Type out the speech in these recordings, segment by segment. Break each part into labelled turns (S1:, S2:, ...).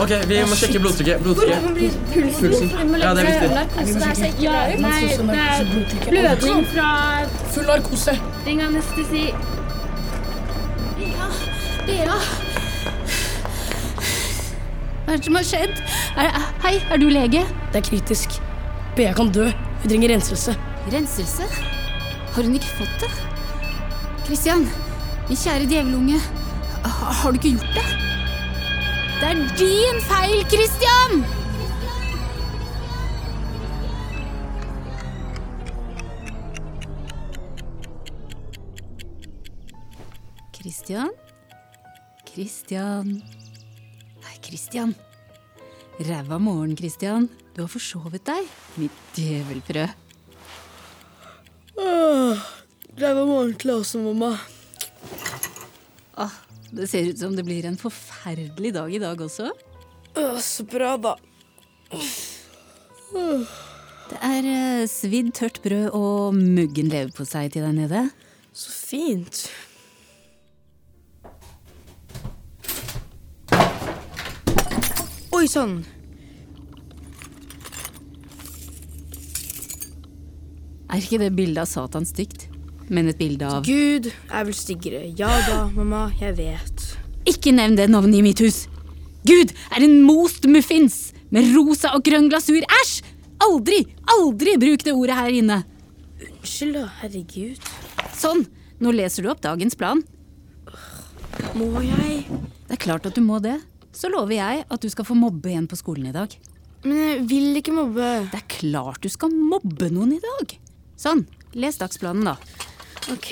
S1: Ok, vi må sjekke blodtrykket. blodtrykket.
S2: Man blir pulsen.
S1: Ja, det er viktig.
S2: Narkose er seg ja, Nei, det er blødning fra
S3: Full narkose.
S2: Ring anestesi. Bea. Bea. Hva er det som har skjedd? Er, hei, er du lege?
S3: Det er kritisk. Bea kan dø. Hun trenger renselse.
S4: Renselse? Har hun ikke fått det? Christian, min kjære djevelunge, ha- har du ikke gjort det? Det er din feil, Christian! Christian? Christian Nei, Christian. Ræva morgen, Christian. Du har forsovet deg, mitt djevelbrød.
S3: Ræva morgen til oss, mamma.
S4: Ah, det ser ut som det blir en forferdelig dag i dag også.
S3: så bra, da.
S4: Det er eh, svidd tørt brød og muggen leverpostei til deg nede.
S3: Så fint. Oi sånn. sann.
S4: Er ikke det bildet av Satan stygt? Men et bilde av
S3: Gud er vel styggere. Ja da, mamma. Jeg vet.
S4: Ikke nevn det navnet i mitt hus! Gud er en most muffins med rosa og grønn glasur. Æsj! Aldri, aldri bruk det ordet her inne!
S3: Unnskyld, da. Herregud.
S4: Sånn, nå leser du opp dagens plan.
S3: Må jeg?
S4: Det er klart at du må det. Så lover jeg at du skal få mobbe en på skolen i dag.
S3: Men jeg vil ikke mobbe.
S4: Det er klart du skal mobbe noen i dag! Sånn, les dagsplanen, da.
S3: Ok.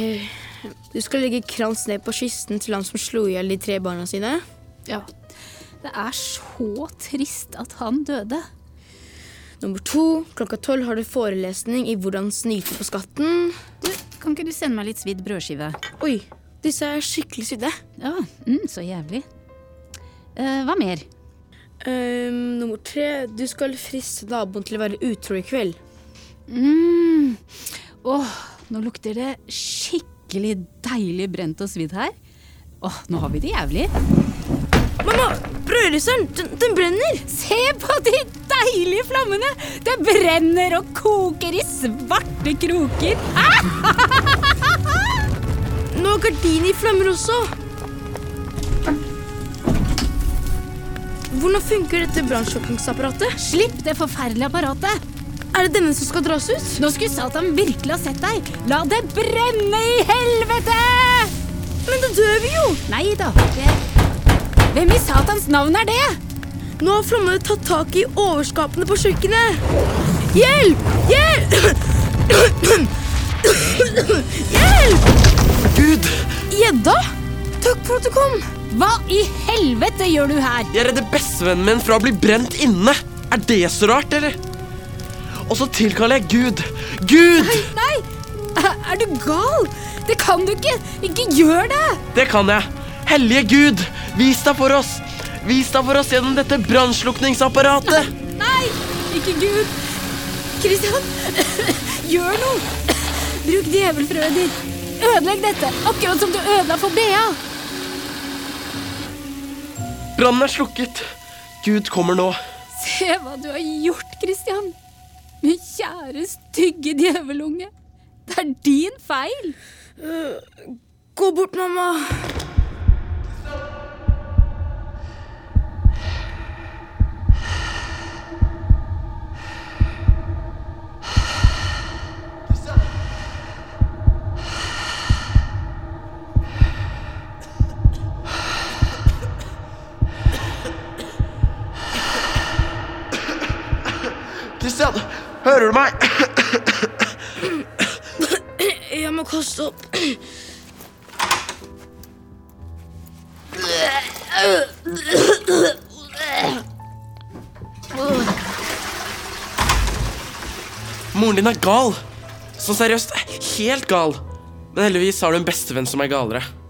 S3: Du skal legge krans ned på kisten til han som slo i hjel de tre barna sine?
S4: Ja. Det er så trist at han døde.
S3: Nummer to, klokka tolv har du forelesning i hvordan snyte på skatten.
S4: Du, kan ikke du sende meg litt svidd brødskive?
S3: Oi, disse er skikkelig sydde.
S4: Ja, mm, så jævlig. Eh, hva mer?
S3: Ehm, nummer tre, du skal friste naboen til å være utro i kveld.
S4: Mm. Åh, nå lukter det skikkelig deilig brent og svidd her. Åh, nå har vi det jævlig.
S3: Mamma, brødristeren, den, den brenner!
S4: Se på de deilige flammene! Det brenner og koker i svarte kroker.
S3: Nå er gardinen i flammer også! Hvordan funker dette brannslukningsapparatet?
S4: Slipp det forferdelige apparatet!
S3: Er det denne som skal dras ut?
S4: Nå skulle Satan virkelig ha sett deg! La det brenne i helvete!
S3: Men da dør vi jo!
S4: Nei da. det- Hvem i Satans navn er det?
S3: Nå har flammene tatt tak i overskapene på kjøkkenet. Hjelp! Hjelp! Hjelp!
S1: Gud!
S3: Gjedda? Takk for at du kom.
S4: Hva i helvete gjør du her?
S1: Jeg redder bestevennen min fra å bli brent inne. Er det så rart, eller? Og så tilkaller jeg Gud. Gud!
S4: Nei! Er du gal? Det kan du ikke! Ikke gjør det!
S1: Det kan jeg. Hellige Gud, vis deg for oss. Vis deg for oss gjennom dette brannslukningsapparatet.
S4: Nei! Ikke Gud! Kristian, gjør noe! Bruk djevelfrøet ditt. Ødelegg dette, akkurat som du ødela for Bea.
S1: Brannen er slukket. Gud kommer nå.
S4: Se hva du har gjort, Kristian. Min kjære, stygge djevelunge. Det er din feil.
S3: Gå bort, mamma.
S1: Kristian, hører du meg?
S3: Jeg må kaste opp.
S1: Moren din er gal. Sånn seriøst, helt gal. Men heldigvis har du en bestevenn som er galere.